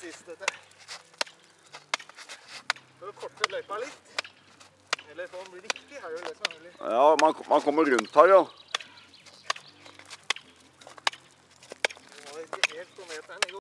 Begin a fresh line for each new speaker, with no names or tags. sist, dette. For å korte løypa litt. Eller få den riktig er jo det som er mulig.
Ja, man, man kommer rundt her, ja.
Du må ikke helt på meteren.